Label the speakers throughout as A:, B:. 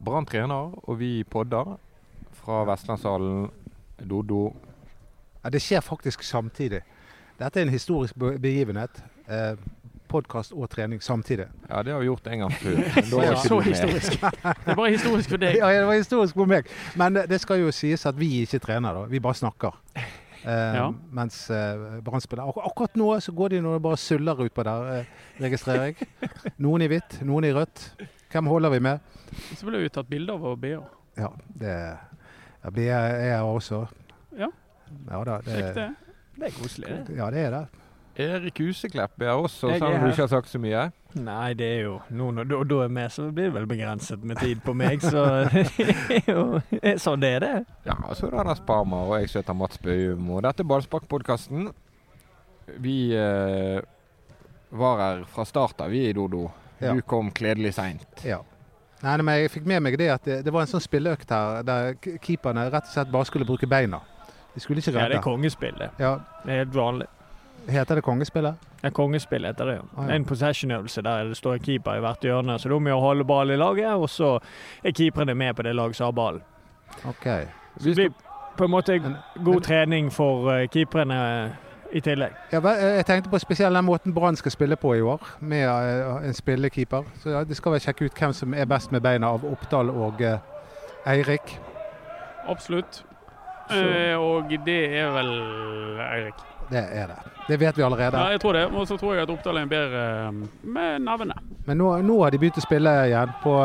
A: Brann trener, og vi podder fra Vestlandshallen. Dodo.
B: Ja, det skjer faktisk samtidig. Dette er en historisk be- begivenhet. Eh, Podkast og trening samtidig.
A: Ja, det har vi gjort en gang før. Da
B: Ja,
A: var
B: var
A: ikke
C: så
A: du med.
C: historisk. Det er bare historisk for deg.
B: Ja, det var historisk for meg. Men eh, det skal jo sies at vi ikke trener, da. Vi bare snakker. Eh,
C: Ja.
B: Mens eh, Brann spiller Ak Akkurat nå så går de nå og bare suller utpå der, eh, registrerer jeg. Noen i hvitt, noen i rødt. Hvem holder vi med?
C: Så ble det jo tatt bilde av og BH.
B: Ja, det ja, BA er jeg også.
C: Ja.
B: Ja da.
C: Sjekk
B: Det,
C: det. Det er koselig. det.
B: ja, det er det.
A: Erik Huseklepp er også,
D: Jeg
A: selv
D: er
A: om du
D: her.
A: ikke har sagt så mye.
D: Nei, det er jo nå når da, da er med, så blir det vel begrenset med tid på meg, så det er jo- Sånn er det.
A: Ja, og så er det Anders Parma, og jeg heter Mats Bøhum. Og dette er Ballsparkpodkasten. Vi eh, var her fra start av, vi i Dodo.
B: Ja.
A: Du kom kledelig seint.
B: Ja. Nei, nei, men jeg fikk med meg det at det, det var en sånn spilleøkt her der k- keeperne rett og slett bare skulle bruke beina. De skulle ikke
D: Ja, det er
B: redde.
D: kongespill, det.
B: Ja,
D: Det er helt vanlig.
B: Heter det kongespillet?
D: Ja, kongespill heter det.
B: Ah, ja.
D: Det er en possession-øvelse der det står en keeper i hvert hjørne, så da må jo holde ballen i laget, og så er keeperne med på det laget som har ballen.
B: OK.
D: Så det blir på en måte
B: Men- men-
D: god trening for eh, keeperne i tillegg.
B: Ja, hva- eh, jeg tenkte på spesielt den måten Brann skal spille på i år, med eh, en spillekeeper. Så ja, Det skal vel sjekke ut hvem som er best med beina av Oppdal og eh, Eirik.
C: Absolutt.
D: Så-
C: Eh, og det er vel Eirik.
B: Det er det. Det vet vi
C: Ja,
B: allerede.
C: jeg tror det. Og så tror jeg at Oppdal er en bedre eh, med nervene.
B: Men nå, nå har de begynt å spille igjen på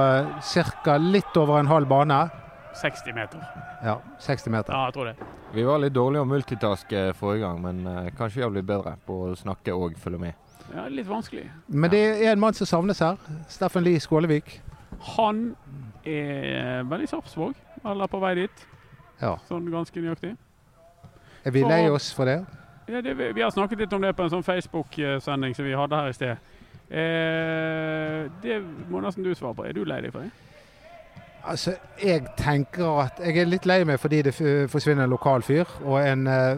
B: ca. litt over en halv bane.
C: 60 meter.
B: Ja, 60 meter.
C: Ja, jeg tror det.
A: Vi var litt dårlige å multitaske forrige gang, men eh, kanskje vi har blitt bedre på å snakke og følge med.
C: Ja, litt vanskelig.
B: Men det er en mann som savnes her. Steffen Lie Skålevik.
C: Han er eh, vel i Sarpsborg, eller på vei dit,
B: Ja.
C: sånn ganske nøyaktig.
B: Er vi
C: Og-
B: lei oss for det?
C: Ja, det, vi vi har snakket litt om det på en sånn Facebook-sending som vi hadde her i sted. Eh, det må nesten du svare på. Er du lei deg for det?
B: Altså, jeg tenker at Jeg er litt lei meg fordi det f- forsvinner en lokal fyr, og en, eh,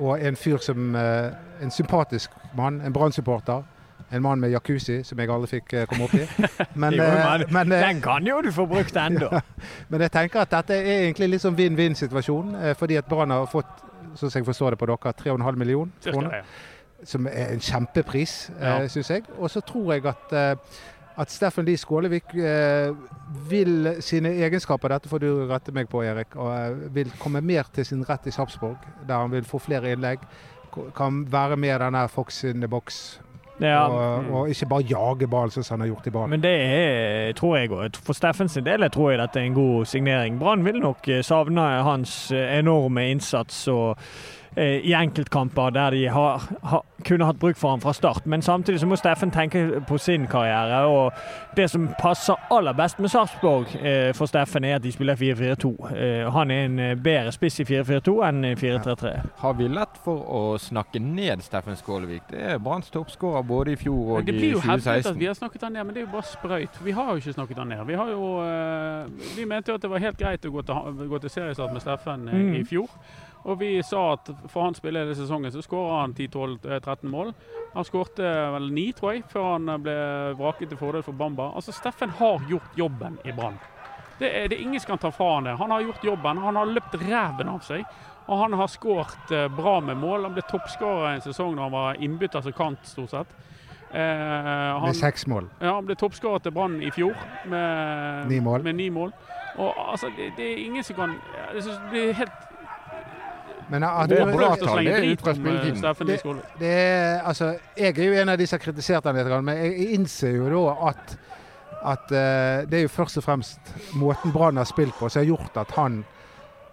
B: og en fyr som eh, En sympatisk mann, en Brann-supporter. En mann med jacuzzi, som jeg aldri fikk eh, komme opp i. Men,
D: Jo,
B: eh,
D: men-
B: men, eh,
D: Den kan jo du få brukt ennå!
B: men jeg tenker at dette er egentlig litt sånn vinn-vinn-situasjon, eh, fordi at Brann har fått, sånn som jeg forstår det på dere, 3,5 millioner
C: Cirka,
B: kroner.
C: det, ja.
B: som er en kjempepris,
C: Ja.
B: eh, syns jeg. Og så tror jeg at, eh, at Steffen Lie Skålevik eh, vil sine egenskaper, dette får du rette meg på, Erik, og eh, vil komme mer til sin rett i Sarpsborg, der han vil få flere innlegg. ko- Kan være med i denne Fox in the box,
D: Ja.
B: og,
C: mm.
B: og ikke bare jage ball, sånn som han har gjort i banen.
D: Men det er, tror jeg òg. For Steffens del jeg tror jeg dette er en god signering. Brann vil nok eh, savne hans eh, enorme innsats og eh, i enkeltkamper der de har, har, kunne hatt bruk for ham fra start. Men samtidig så må Steffen tenke på sin karriere. Og det som passer aller best med Sarpsborg eh, for Steffen, er at de spiller 4-4-2. Eh, han er en eh, bedre spiss i 4-4-2 enn i 4-3-3.
A: Har vi lett for å snakke ned Steffen Skålevik? Det er Branns toppskårer både i fjor
C: Men
A: og
C: det
A: i
C: blir jo hevdet at
A: 2016.
C: vi har snakket han ned, men det er jo bare sprøyt. Vi har jo ikke snakket han ned. Vi, har jo, eh, vi mente jo at det var helt greit å gå til, ha- gå til seriestart med Steffen eh,
D: Mm.
C: i fjor. Og vi sa at for hans spill hele sesongen så skåra han 10-12-13 mål. Han skårte vel 9, tror jeg, før han eh, ble vraket til fordel for Bamba. Altså, Steffen har gjort jobben i Brann. Det er det er ingen som kan ta fra han det. Han har gjort jobben. Han har løpt ræven av seg. Og han har skåret eh, bra med mål. Han ble toppskårer i en sesong da han var innbytter som kant, stort sett. Eh, han,
B: Med seks mål.
C: ja, han ble toppskårer til Brann i fjor med
B: Ni mål.
C: Med ni mål. Og altså, det, det er ingen som kan ja, Jeg synes det blir helt
B: Men at
A: Det er
B: du-
A: bra
C: oppløft å
A: tall,
C: slenge
A: det er
C: drit
A: ut fra
C: om eh,
A: spilletiden.
C: Steffen
B: Det-
C: Nyskole.
B: det er, altså, jeg er jo en av de som har kritisert han litt, men jeg innser jo da at, at eh, det er jo først og fremst måten Brann har spilt på som har gjort at han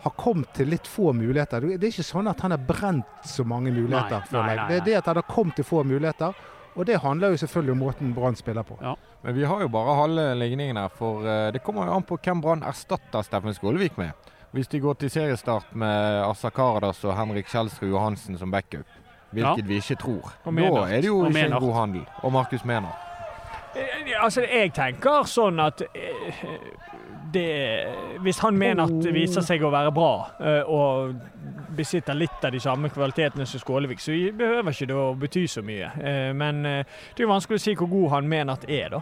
B: har kommet til litt få muligheter. Det er ikke sånn at han har brent så mange muligheter.
C: Nei,
B: føler jeg.
C: nei, nei,
B: Det er det at han har kommet til få muligheter, og det handler jo selvfølgelig om måten Brann spiller på.
A: Men vi har jo bare halve ligningen her, for eh, det kommer jo an på hvem Brann erstatter Steffen Skålevik med. Hvis de går til seriestart med Asa Karadas og Henrik Kjelsrud Johansen som backup, hvilket vi ikke tror,
D: Og
A: da
D: Menart.
A: er det jo
C: Og
A: ikke en
C: Menart.
A: god handel. Og Markus Menart.
D: Eh, Ja, altså, jeg tenker sånn at eh, det Hvis han mener at det viser seg å være bra eh, og besitter litt av de samme kvalitetene som Skålevik, så behøver ikke det å bety så mye. Eh, men eh, det er jo vanskelig å si hvor god han mener at er, da.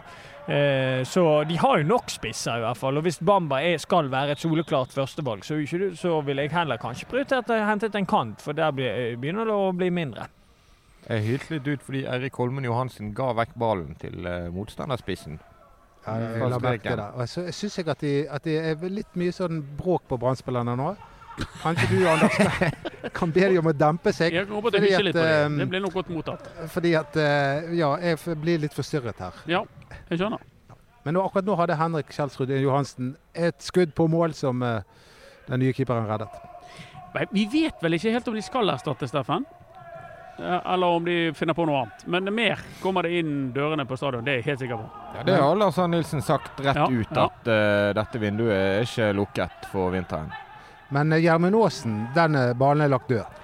D: Eh, så de har jo nok spisser, i hvert fall. Og hvis Bamba er, skal være et soleklart førstevalg, så, er jo ikke, det- så ville jeg heller kanskje prioritert å hente en kant, for der blir- eh, begynner det å bli mindre.
A: Jeg hylte litt ut fordi Eirik Holmen Johansen ga vekk ballen til eh, motstanderspissen.
B: Ja, Eh, jeg
A: Fast
B: la merke til
A: streken.
B: det. Og jeg sy- jeg syns jeg at de- at det er litt mye sånn bråk på brannspillerne nå. Kanskje du, Anders, kan be dem om å dempe seg.
C: Jeg håper at jeg
B: fordi
C: hysjer
B: at,
C: litt på det.
B: ehm,
C: Det blir nok godt mottatt.
B: Fordi at eh, Ja, jeg f- blir litt forstyrret her.
C: Jeg skjønner.
B: Men nå, akkurat nå hadde Henrik Kjelsrud Johansen et skudd på mål som eh, den nye keeperen reddet.
C: Nei, Vi vet vel ikke helt om de skal erstatte Steffen. Eh, Eller om de finner på noe annet. Men mer kommer det inn dørene på stadion. Det er jeg helt sikker på.
A: Ja, det har Lars Arne Nilsen sagt rett
C: Ja,
A: ut,
C: ja.
A: at eh, dette vinduet er ikke lukket for vinteren.
B: Men eh, Gjermund Aasen, den eh, ballen er lagt død.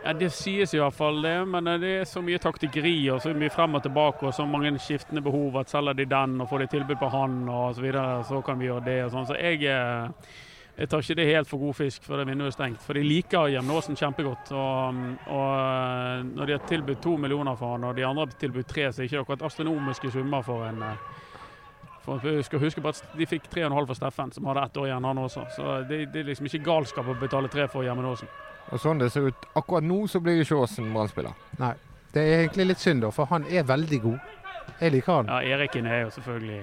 C: Ja, Det sies i hvert fall det, men eh, det er så mye taktikkeri og så mye frem og tilbake og så mange skiftende behov at selger de den og får de tilbud på han og så videre, så kan vi gjøre det og sånn. Så jeg, eh, jeg tar ikke det helt for god fisk før det vinduet er stengt, for de liker Jevnåsen kjempegodt. Og, og eh, når de har tilbudt to millioner for han og de andre har tilbudt tre, så er ikke det akkurat astronomiske summer for en eh, for vi skal huske på at De fikk 3,5 for Steffen, som hadde ett år igjen, han også. Så det, det er liksom ikke galskap å betale tre for Gjermund Aasen.
A: Og sånn det ser ut akkurat nå, så blir ikke Åsen Brann-spiller.
B: Det er egentlig litt synd, da, for han er veldig god. Jeg liker han.
C: Ja, Eriken er jo selvfølgelig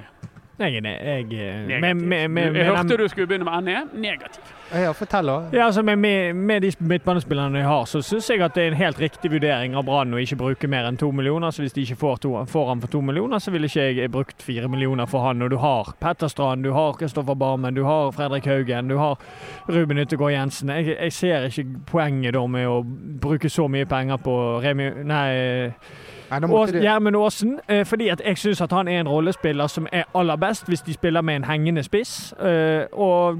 D: Jeg er ne- jeg, eh,
C: Negativ.
D: med, med, med,
C: jeg
D: med,
C: hørte
D: dem-
C: du skulle begynne med NE. Negativ.
B: Ja, fortell, da.
D: ja, altså med, med, med de midtbanespillerne jeg har, så syns jeg at det er en helt riktig vurdering av Brann å ikke bruke mer enn to millioner. Så hvis de ikke får, to, får han for to millioner, så ville ikke jeg eh, brukt fire millioner for han. Og du har Petter Strand, du har Kristoffer Barmen, du har Fredrik Haugen, du har Ruben Yttergård Jensen. Jeg, jeg ser ikke poenget da med å bruke så mye penger på Remi... Nei.
B: Nei, da
D: Og
B: måtte de-
D: Gjermund Aasen, eh, fordi at jeg syns at han er en rollespiller som er aller best hvis de spiller med en hengende spiss. Eh, og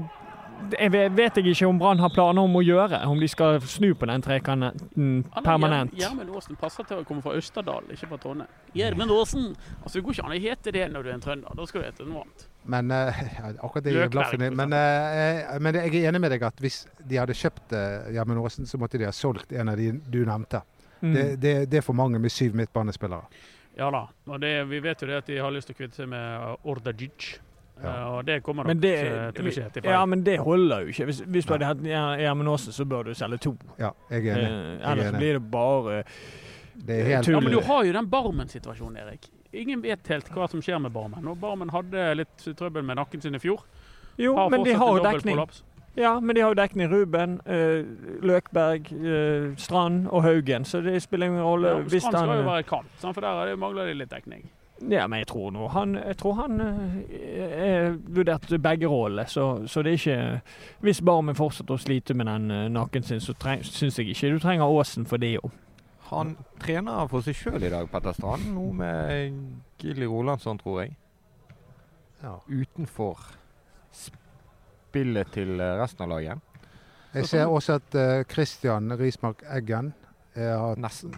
D: jeg ve- vet jeg ikke om Brann har planer om å gjøre, om de skal snu på den trekanten
C: Han er
D: permanent.
C: Gjer- Gjermund Aasen passer til å komme fra Østerdal, ikke fra Trondheim. Gjermund Aasen! Altså, det går ikke an å hete det når du er en trønder. Da skal du hete noe annet.
B: Men eh, ja, akkurat det er
C: Løkberg,
B: blaffen i.
C: for
B: Men, eh, eh, men jeg er enig med deg at hvis de hadde kjøpt eh, Gjermund Aasen, så måtte de ha solgt en av de du nevnte.
D: Mm.
B: Det, det, det er for mange med syv midtbanespillere.
C: Ja da. Og det, vi vet jo det at de har lyst til å kvitte seg med eh, Ordagic.
B: Ja.
C: Eh, og det kommer
D: Men
C: nok
D: det,
C: eh, til å skje. tipper jeg.
D: ja, men det holder jo ikke. Hvis, hvis du hadde hatt Gjer- Gjermund Aasen, så bør du selge to.
B: Ja, jeg er enig.
D: Eh, ellers
B: enig.
D: blir det bare
B: Det er helt
D: tull.
C: Ja, men du har jo den Barmen-situasjonen, Erik. Ingen vet helt hva som skjer med Barmen. Og Barmen hadde litt trøbbel med nakken sin i fjor.
D: Jo, men
C: fortsatt
D: de har jo
C: en dobbelt
D: dekning.
C: prolaps.
D: Ja, men de har jo dekning Ruben, eh, Løkberg, eh, Strand og Haugen, så det spiller ingen rolle.
C: Ja, men
D: hvis
C: Strand skal
D: han-
C: jo være kant, sant? for der er det- mangler de litt dekning.
D: Ja, men jeg tror nå han, jeg tror han eh, er vurdert begge rollene, så, så det er ikke Hvis Barmen fortsetter å slite med den eh, naken sin, så treng, syns jeg ikke du trenger Åsen for det òg.
A: Han trener for seg sjøl i dag, Petter Strand. Nå med Gilly Rolandsson, tror jeg.
B: Ja.
A: Utenfor spillet til eh, resten av laget.
B: Jeg ser også at eh, Christian Rismark Eggen er at-
A: Nesten.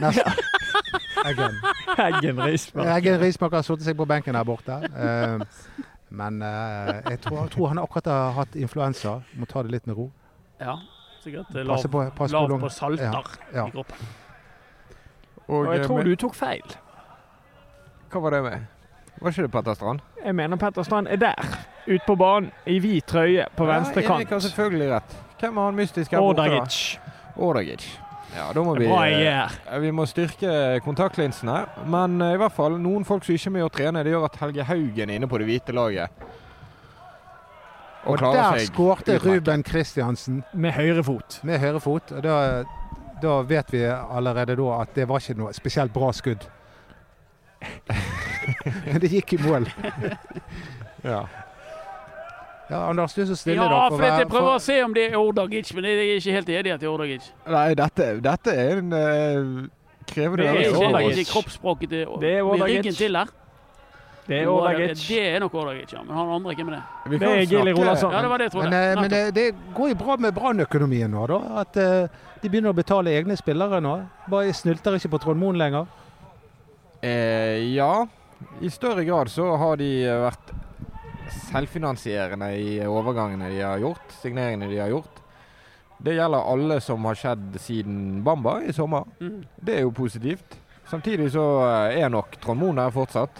B: nesten Eggen.
D: Eggen Risberg.
B: Eggen Rismark har sittet seg på benken her borte. Eh, men eh, jeg tror, tror han akkurat har hatt influensa. Må ta det litt med ro.
C: Ja, sikkert. eh, Lav,
B: Passe på, passe på,
C: lav
B: lung-
C: på salter
B: Ja, ja.
C: i kroppen.
A: Og,
D: Og jeg
A: eh,
D: tror
A: men,
D: du tok feil.
A: Hva var det med? Var ikke det Petter Strand?
D: Jeg mener Petter Strand er der, ute på banen, i hvit trøye på venstre
A: Ja, Erik har
D: kant.
A: selvfølgelig rett. Hvem er han mystiske her borte? da?
D: Ordagic.
A: Ordagic. Ja, da må
D: Det
A: vi
D: er Bra jeg
A: eh,
D: gjør.
A: Ja, Vi må styrke kontaktlinsene, men eh, i hvert fall noen folk som ikke er med å trene, det gjør at Helge Haugen er inne på det hvite laget. Og,
B: Og
A: klarer
B: der
A: seg.
B: skårte
A: utmerket.
B: Ruben Christiansen
D: Med høyre fot.
B: med høyre fot. Og da, da vet vi allerede da at det var ikke noe spesielt bra skudd. Men det gikk i mål.
A: Ja.
B: Ja, Anders, du er så stille
C: Ja,
B: da.
C: for jeg
B: hver-
C: prøver å se om det er Ordagic, men jeg er ikke helt enig i at det er Ordagic.
A: Nei, dette, dette er en eh, krevende
C: Det er
D: ikke
C: ikke, det er
A: øvelse.
D: Ordagic.
C: ikke kroppsspråket til
D: Det er
C: med
D: Ordagic.
C: ryggen til der.
D: Det er
C: Ordagic.
D: Ordagic.
C: Det er nok Ordagic, ja. Men han andre er ikke med det.
A: Vi
D: Det er
A: kan
D: Gilly altså.
A: snakke-
D: Rolandsson.
C: Ja, det var det jeg trodde.
B: Men, eh, men det,
C: Nettopp.
B: det går jo bra med brannøkonomien nå, da. At eh, de begynner å betale egne spillere nå. Bare snylter ikke på Trond Moen lenger.
A: Eh, ja, I større grad så har de eh, vært selvfinansierende i overgangene de har gjort, signeringene de har gjort. Det gjelder alle som har skjedd siden Bamba i sommer.
C: Mm.
A: Det er jo positivt. Samtidig så eh, er nok Trond Moen der fortsatt.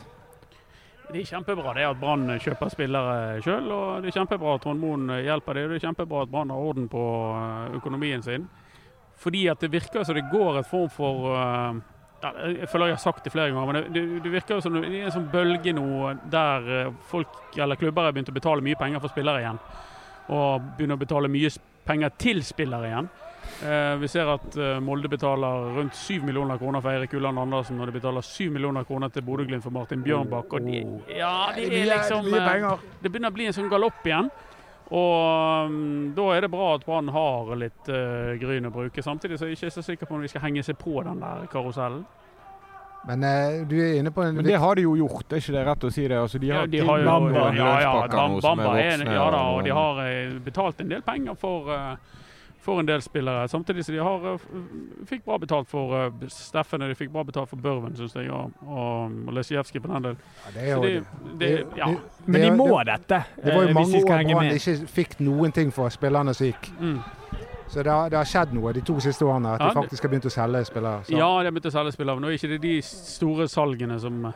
C: Det er kjempebra det at Brann kjøper spillere sjøl, og det er kjempebra at Trond Moen hjelper det, og det er kjempebra at Brann har orden på eh, økonomien sin. Fordi at det virker som det går et form for eh, ja, Jeg føler jeg har sagt det flere ganger, men det, det, det virker som det er en sånn bølge nå der eh, folk eller klubber har begynt å betale mye penger for spillere igjen. Og begynner å betale mye s- penger til spillere igjen. Eh, vi ser at eh, Molde betaler rundt 7 millioner kroner for Eirik Ulland Andersen, og de betaler 7 millioner kroner til Bodø-Glimt for Martin Bjørnbakk. Og de, ja, de er liksom
B: Oh. mye
C: eh,
B: penger.
C: det begynner å bli en sånn galopp igjen. Og mm, da er det bra at Brann har litt eh, gryn å bruke. Samtidig så er jeg ikke så sikker på om de skal henge seg på den der karusellen.
B: Men eh, du er inne på en
A: Men det har de jo gjort, er ikke det rett å si det? Altså, de har,
C: de har jo,
A: Bamba
C: ja,
A: og
C: ja, ja,
A: Løsbakken
C: Bam-
A: nå, som
C: Bamba er,
A: voksne,
C: ja da, og de har eh, betalt en del penger for, eh, for en del spillere. Samtidig som de har, eh, f- fikk bra betalt for eh, Steffen og de fikk bra betalt for Børven, syns jeg, og, og, og Lesijevskij på den del.
B: Ja, det er
C: Så
B: jo
C: de, de,
B: det-
C: ja.
B: det-
D: Men
B: det-
D: de må
B: det.
D: dette
B: Det var jo
D: eh, hvis
B: mange
D: de skal
B: år
D: henge
B: Brann
D: med.
B: ikke fikk noen ting for spillerne som gikk.
C: Mm.
B: Så det har, det har skjedd noe de to siste årene, at
C: Ja,
B: de
C: det-
B: faktisk har begynt å selge spillere. Så.
C: Ja, de har begynt å selge spillere. men Nå er ikke det de store salgene som er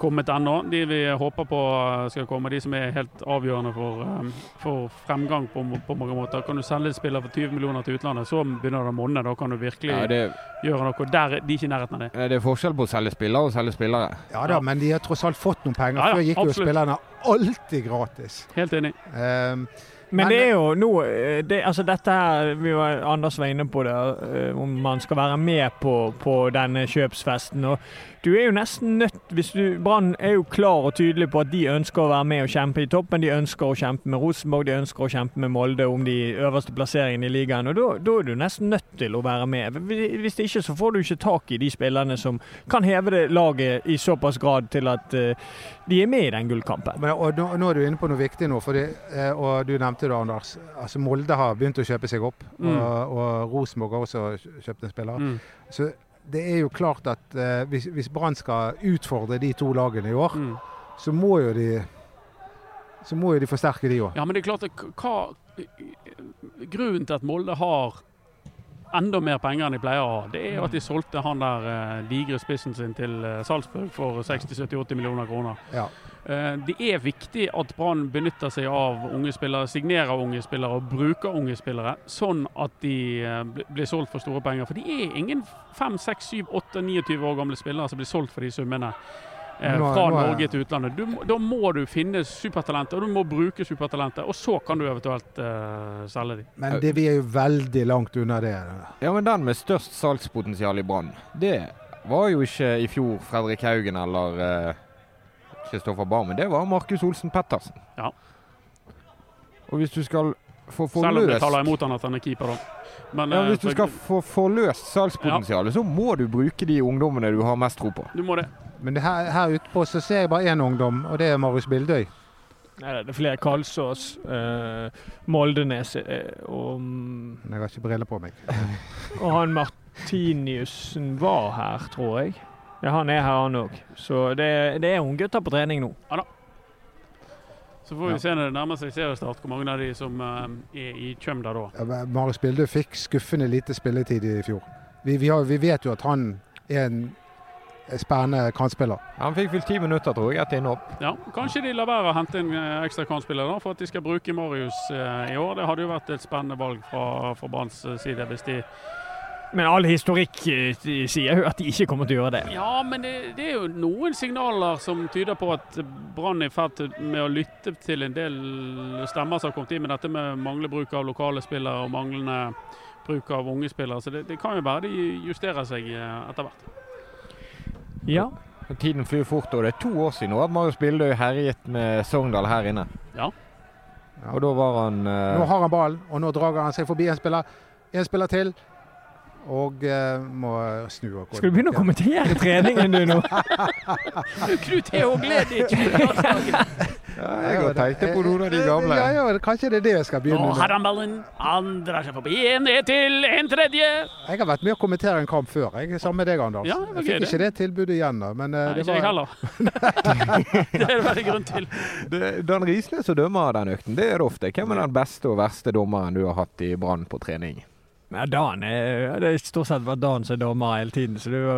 C: kommet ennå. De vi håper på eh, skal komme, de som er helt avgjørende for, eh, for fremgang på, på mange måter. Kan du selge en spiller for 20 millioner til utlandet, så begynner det å monne. Da kan du virkelig
A: Ja, det,
C: gjøre noe. Der, er- de er ikke i nærheten av det.
A: det er forskjell på å selge spillere og selge spillere.
B: Ja da, men de har tross alt fått noen penger.
C: Ja, ja,
B: Før gikk jo
C: absolutt.
B: spillerne alltid gratis.
C: Helt enig.
B: Ehm,
D: Men
B: Men-
D: det er jo nå eh, det, altså Dette her vi var, Anders var inne på det, eh, om man skal være med på, på denne kjøpsfesten. Og du er jo nesten nødt hvis du, Brann er jo klar og tydelig på at de ønsker å være med og kjempe i toppen. De ønsker å kjempe med Rosenborg, de ønsker å kjempe med Molde om de øverste plasseringene i ligaen. Og da- da er du nesten nødt til å være med. Hvis ikke så får du ikke tak i de spillerne som kan heve det laget i såpass grad til at eh, de er med i den gullkampen.
B: men, og nå, nå er du inne på noe viktig nå, fordi, eh, og du nevnte det, Anders. Altså Molde har begynt å kjøpe seg opp,
C: Mm.
B: og, og Rosenborg har også kjø- kjøpt en spiller.
C: Mm.
B: Så det er jo klart at eh, hvis, hvis Brann skal utfordre de to lagene i år,
C: Mm.
B: så må jo de så må jo de forsterke de òg.
C: Ja, men det er klart at k- hva Grunnen til at Molde har enda mer penger enn de pleier å ha, det er jo at de solgte han der eh, digre spissen sin til eh, Salzburg for 60-70-80 millioner kroner.
B: Ja.
C: Eh, det er viktig at Brann benytter seg av unge spillere, signerer unge spillere og bruker unge spillere, sånn at de eh, bl- blir solgt for store penger. For de er ingen 5, 6, 7, 8, 29 år gamle spillere som blir solgt for de summene. eh,
B: Nå er-
C: Fra
B: nå er-
C: Norge til utlandet. Du, må- da må du finne supertalenter, og du må bruke supertalenter. Og så kan du eventuelt eh, selge dem.
B: Men det, vi er jo veldig langt unna det.
A: Ja, men den med størst salgspotensial i Brann, det var jo ikke i fjor Fredrik Haugen eller eh, Kristoffer Barmen. Det var Markus Olsen Pettersen.
C: Ja.
A: Og hvis du skal få
C: Selv om det
A: forløst
C: taler imot han at han er keeper, da. Men,
A: ja,
C: eh,
A: Hvis du
C: for-
A: skal få forløst salgspotensialet, så må du bruke de ungdommene du har mest tro på.
C: du må det.
B: Men det her, her ute på så ser jeg bare én ungdom, og det er Marius Bildøy.
D: Nei, det er flere. Kalsås, eh, Moldenes eh, og,
B: Men jeg har ikke briller på meg.
D: og han Martiniussen var her, tror jeg. Ja, han er her, han òg. Så det, det er unggutter på trening nå.
C: Så får vi
B: Ja.
C: se når det nærmer seg seriestart, hvor mange av de som eh, er i Tjømda da.
B: Ja, men Marius Bildøy fikk skuffende lite spilletid i fjor. Vi, vi, har, vi vet jo at han er en spennende kantspiller.
A: Han fikk vel ti minutter, tror jeg, etter innhopp.
C: Ja, Kanskje de lar være å hente en eh, ekstra kantspiller da, for at de skal bruke Marius eh, i år. Det hadde jo vært et spennende valg fra, fra Branns eh, side hvis de
D: Men all historikk eh, sier jo at de ikke kommer til å gjøre det.
C: Ja, men det, det er jo noen signaler som tyder på at Brann er i ferd til- med å lytte til en del stemmer som har kommet inn med dette med manglende bruk av lokale spillere og manglende bruk av unge spillere. Så det, det kan jo være de justerer seg eh, etter hvert.
D: Ja.
A: Tiden flyr fort, og det er to år siden nå at Marius Bildøy herjet med Sogndal her inne.
C: Ja.
B: Ja.
A: Og da var han eh,
B: Nå har han ballen, og nå drar han seg forbi en spiller. En spiller til, og eh, må snu. og gå
D: Skal du begynne
B: tilbake.
D: å kommentere treningen du nå?
C: Knut Heo Gleditsch!
A: Ja, jeg har tenkt på noen av de gamle.
B: Eh, Ja, ja, kanskje det er det jeg skal begynne
C: Nå
B: med.
C: har han ballen. Han drar seg forbi. En ned til. En tredje.
B: Jeg har vært med å kommentere en kamp før, jeg, sammen med deg, Anders.
C: Ja, det
B: jeg
C: var gøy,
B: fikk
C: det.
B: ikke det tilbudet igjen, da. Men eh,
C: Nei,
B: det
C: ikke jeg
B: var
C: heller. det er det veldig grunn til.
A: Det- Dan Risnes som dømmer den økten, det er det ofte. Hvem er den beste og verste dommeren du har hatt i Brann på trening?
D: Ja, Dan er, det er stort sett vært Dan som er dommer hele tiden, så det, er jo,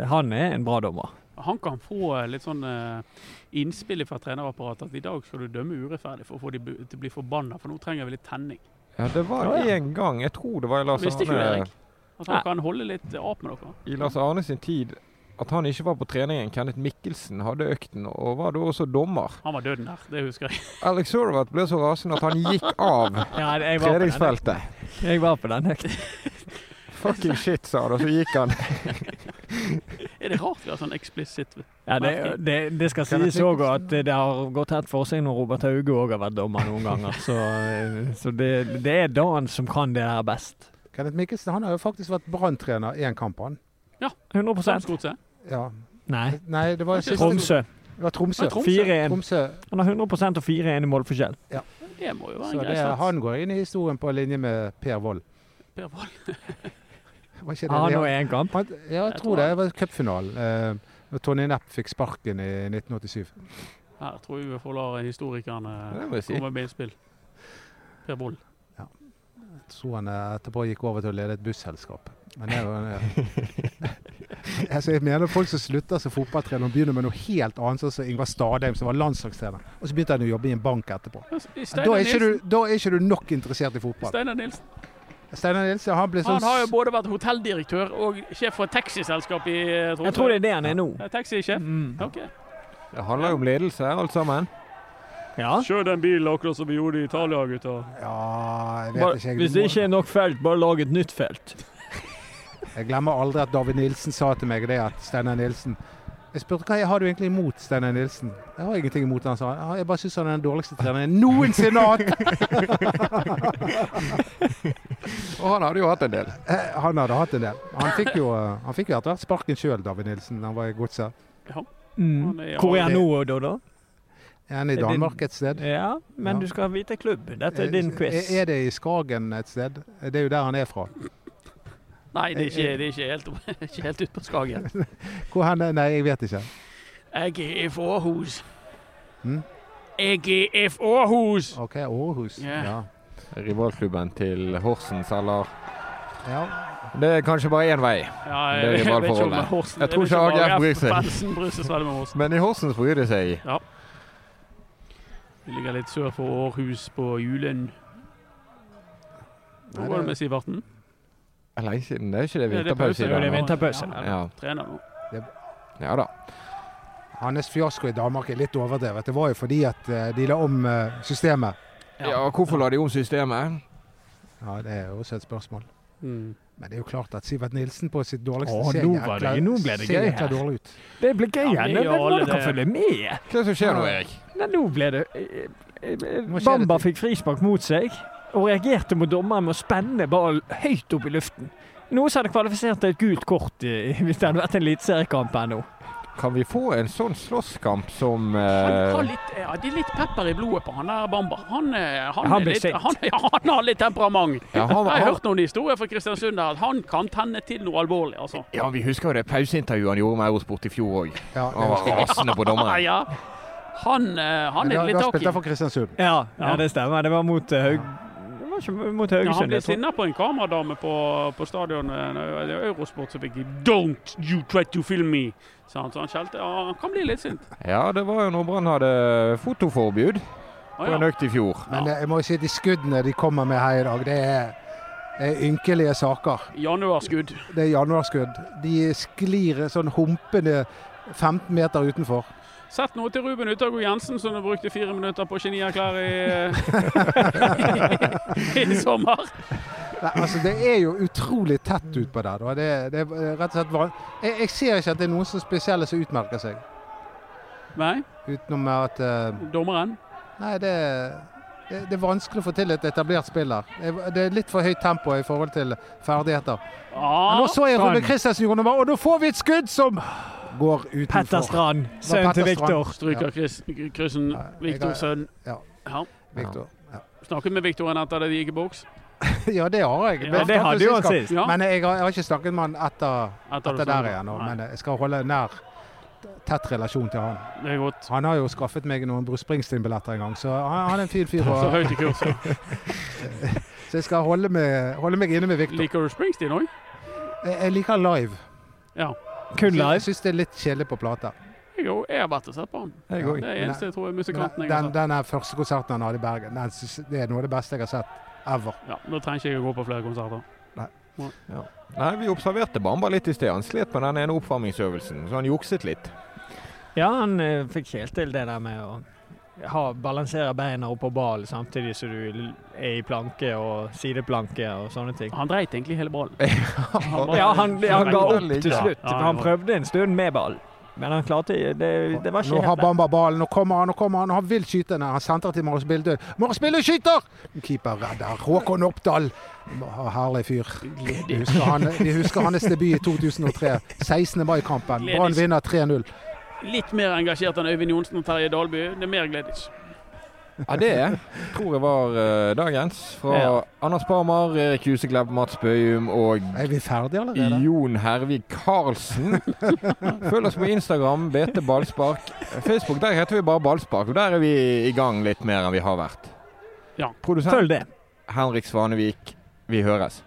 D: øh, han er en bra dommer.
C: Han kan få eh, litt sånn eh, innspill fra trenerapparatet at i dag skal du dømme urettferdig for å få de bu- til å bli forbanna, for nå trenger vi litt tenning.
A: Ja, det var
D: Ja, ja.
A: én gang. Jeg tror det var i Lars
C: Visste ikke du det,
A: Arne,
C: Erik? At han
D: Nei.
C: kan holde litt eh, ap med dere?
A: i Lars Arne sin tid at han ikke var på treningen. Kenneth Mikkelsen hadde økten, og var da også dommer.
C: Han var døden der, det husker jeg.
A: Alex Horvath ble så rasende at han gikk av
D: Ja, jeg, var på den,
A: treningsfeltet.
D: jeg var på den økten.
A: Fucking shit, sa han, og så gikk han.
C: Er det rart vi har sånn eksplisitt
D: Ja, det, det, det skal sies òg at det har gått helt for seg når Robert Hauge òg har vært dommer noen ganger. Så, øh, så det, det er Dan som kan det her best.
B: Kenneth Mikkelsen han har jo faktisk vært Brann-trener én kamp, han.
D: 100
C: Strotse?
B: Ja.
D: Nei.
B: Nei, det var siste
D: Tromsø.
B: Det var Tromsø.
C: Ja, Tromsø.
D: 4-1.
B: Tromsø.
D: Han har 100 og 4-1 i målforskjell.
C: Det må jo være
B: Så
C: en grei
B: det,
C: sats.
B: han går inn i historien på linje med Per Wold.
C: Per Wold.
B: Var ikke det
D: Har
B: det?
D: han nå én kamp?
B: Han- Ja, jeg tror det. Det var cupfinalen. Eh, når Tonje Nepp fikk sparken i 1987.
C: Her tror jeg vi får la historikerne eh,
A: Ja, det må jeg si.
C: komme med innspill. Per Wold.
B: Jeg tror han eh, etterpå gikk over til å lede et busselskap. Men det var altså, Jeg mener folk som slutter som fotballtrener og begynner med noe helt annet, sånn som Ingvar Stadheim, som var landslagstrener. Og så begynte han å jobbe i en bank etterpå. Da
C: Steinar
B: er ikke du,
C: Nilsen.
B: da er ikke du nok interessert i fotball.
C: Steinar Nilsen.
B: Steinar Nilsen han ble sånn
C: Han har jo både vært hotelldirektør og sjef for et taxiselskap i eh, Tromsø.
D: Jeg tror det er det han er nå.
C: Ja, Taxisjef.
D: Mm.
C: Ok.
A: Det handler jo om ledelse her, alt sammen.
D: Ja.
C: Kjør den bilen akkurat som vi gjorde i Italia, gutter.
B: Ja, jeg
D: Bare,
B: vet ikke.
D: hvis det ikke
B: Jeg,
D: er nok felt, bare lag et nytt felt.
B: jeg glemmer aldri at David Nilsen sa til meg det at Steinar Nilsen Jeg spurte hva har du egentlig imot Steinar Nilsen. Jeg har ingenting imot han, sa han. «Ja, Jeg bare syns han er den dårligste treneren jeg noensinne har hatt.
A: Og han hadde jo hatt en del.
B: Eh, Han hadde hatt en del. Han fikk jo, eh, han fikk jo etter hvert sparken sjøl, David Nilsen. da Han var i godset.
D: Mm.
C: Sånn,
D: Hvor er han nå, Dodo?
B: Er han i
D: Er det-
B: Danmark et sted?
D: Ja, men
B: Ja. Eh,
D: du skal vite klubb. Dette er din quiz.
B: Er er det i Skagen et sted? Eh, Det er jo der han er fra.
C: Nei, det er ikke, det er ikke helt, ikke helt ut på Skagen.
B: Hvor hen er Nei, jeg vet ikke.
C: Jeg er fra Åhus.
A: Mm.
B: Hm?
C: Jeg er fra Åhus!
B: OK, Århus.
C: Ja.
B: Ja.
A: Rivalklubben til Horsens, eller
B: ja.
A: Det er kanskje bare én vei.
C: Ja,
A: Det er
C: jeg, jeg vet ikke om
A: rivalforholdet.
C: Horsen
A: Jeg tror
C: vet
A: ikke
C: om
A: AGF bryr seg.
C: Fansen bryr seg så veldig med Horsen.
A: Men i Horsens bryr de seg.
C: Vi ligger litt sør for Århus på Julen. Hvor
B: Nei,
C: går
B: det-
C: det med Siverten?
A: Det er lenge siden. Det er ikke det
C: Ja, det er pause,
A: vinterpause i
D: Jo, det er
A: dag. nå.
D: vinterpause.
C: Ja,
A: Ja.
C: Trener nå.
A: ja da.
B: Hans fiasko i Danmark er litt overdrevet. Det var jo fordi at eh, de la om eh, systemet.
A: Ja, Hvorfor la de om systemet?
B: Ja, Det er jo også et spørsmål.
C: Mm.
B: Men det er jo klart at Sivert Nilsen på sitt dårligste
D: Åh,
B: ser
D: nå
B: jækla-
D: var det- nå ble det
B: ser
D: gøy
B: jækla
D: her.
B: dårlig ut.
D: Det blir gøy
C: Ja, det
D: igjen.
C: er
D: Det
C: jo
D: blir
C: alle
D: bra dere
C: det.
D: følger med.
A: Hva er det som skjer nå, Erik?
D: Nei, nå ble det eh, eh, eh,
B: Nå skjer det
D: Bamba
B: ting.
D: fikk frispark mot seg og reagerte mot dommeren med å spenne ballen høyt opp i luften. Noe som hadde kvalifisert til et gult kort eh, hvis det hadde vært en eliteseriekamp ennå.
A: Kan vi få en sånn slåsskamp som
C: Han
A: eh,
C: har litt, ja, det er litt pepper i blodet på han der Bamba. Han, eh, han,
D: Han
C: er
D: blir
C: litt,
D: sint.
C: han, ja, han har litt temperament.
A: ja, han,
C: Jeg har
A: han,
C: hørt noen historier fra Kristiansund der at han kan tenne til noe alvorlig, altså.
A: ja, vi husker jo det pauseintervjuet han gjorde med Eurosport i fjor òg.
B: Ja,
A: Han var
B: det er-
A: rasende på
C: Ja,
A: dommeren.
C: ja. Han, eh, han
B: Men da-
C: er litt
B: Da
C: tak
B: spilte han
C: i.
B: for Kristiansund.
D: Ja,
C: Ja.
D: det stemmer. Det var mot eh, Haug... Det var ikke mot
C: Ja, han
D: Haugesund.
C: ble
D: jeg tror.
C: sinna på en kameradame på, på stadion. eh, Det er Eurosport som fikk 'Don't you try to film me', sa han. Så han skjelte. Ja, han kan bli litt sint.
A: Ja, det var jo når Brann hadde fotoforbud
C: Å,
A: på en
C: ja.
A: økt i fjor.
B: Men eh, jeg må jo si at de skuddene de kommer med her i dag, det er, det er ynkelige saker.
C: Januarskudd.
B: Det er januarskudd. De sklir sånn humpende 15 meter utenfor.
C: Sett noe til Ruben Utago Jensen, som du brukte fire minutter på genierklær i, eh, i sommer.
B: Nei, altså Det er jo utrolig tett utpå der. da. Det, det er rett og slett van... jeg, jeg ser ikke at det er noen som spesielle som utmerker seg.
C: Nei,
B: Utenom at eh,
C: dommeren.
B: Nei, det, det, det er vanskelig å få til et etablert spill der. Det- Det er litt for høyt tempo i forhold til ferdigheter. Men
C: Ja,
B: nå så jeg
D: sant.
B: Ruben Christensen gjorde noe, og da får vi et skudd som går utenfor.
D: Petter Strand, sønnen til
B: Petter Ja.
D: Viktor.
C: Stryker kryss- kryssen
B: Ja, jeg har-
C: Viktor Sønn.
B: ja.
C: Ja.
B: Victor. Ja.
C: Snakket med Viktor en etter det de gikk i boks.
B: ja, det har jeg.
C: Ja.
D: Men det hadde jo han sist.
C: Ja,
B: Men jeg har, jeg har ikke snakket med han etter,
C: etter
B: etter
C: det
B: der
C: sånn.
B: igjen. nå,
C: Nei,
B: Men jeg skal holde nær tett relasjon til han.
C: Det er godt.
B: Han har jo skaffet meg noen Bruce Springsteen-billetter en gang, så han, han er en fin fyr.
C: Så
B: og-
C: høyt i kurs.
B: Så jeg skal holde meg, holde meg inne med Victor.
C: Liker du Springsteen òg?
B: Jeg, jeg liker han live.
C: Ja.
D: Kun
B: Jeg
D: live.
B: syns det er litt kjedelig på plate.
C: Jeg har jo- jeg har vært og sett på han.
A: Jeg
B: Ja.
A: òg.
C: Det er eneste jeg tror er musikanten jeg har
B: Den,
C: sett.
B: den er første konserten han hadde i Bergen. Den, syns- det er noe av det beste jeg har sett ever.
C: Ja, da trenger ikke jeg å gå på flere konserter.
A: Nei, vi observerte Bamba litt i sted. Han slet med den ene oppvarmingsøvelsen, så han jukset litt.
D: Ja, han eh, fikk helt til det der med å ha, balansere beina oppå ballen samtidig som du l- er i planke og sideplanke og sånne ting.
C: Han dreit egentlig hele ballen.
A: Han
D: Ja, han, han ga opp til
A: Ja,
D: slutt.
C: ja,
D: for Han
C: ja.
D: prøvde en stund med ballen, men han klarte Det, det
B: nå
D: var ikke
B: har
D: helt lett.
B: Bamba ballen, nå kommer han, nå kommer han, og han vil skyte. Nei, han sentrer til Marius Bildø. Marius Bildø skyter! Keeper redder. Håkon Oppdal. Herlig fyr. Vi husker, han, vi husker hans debut i 2003. 16. mai-kampen. Brann vinner 3-0.
C: Litt mer engasjert enn Øyvind Johnsen og Terje Dalby. Det er mer gledelig.
A: det tror jeg var eh, dagens. Fra
D: Ja.
A: Anders Parmar, Erik Huseklepp, Mats Bøyum og
B: Er vi ferdige allerede?
A: Jon Hervik Karlsen. Følg oss på Instagram, BT Ballspark. Facebook, der heter vi bare Ballspark, og der er vi i gang litt mer enn vi har vært.
C: Ja.
A: Produsent
D: Følg det.
A: Henrik Svanevik, vi høres.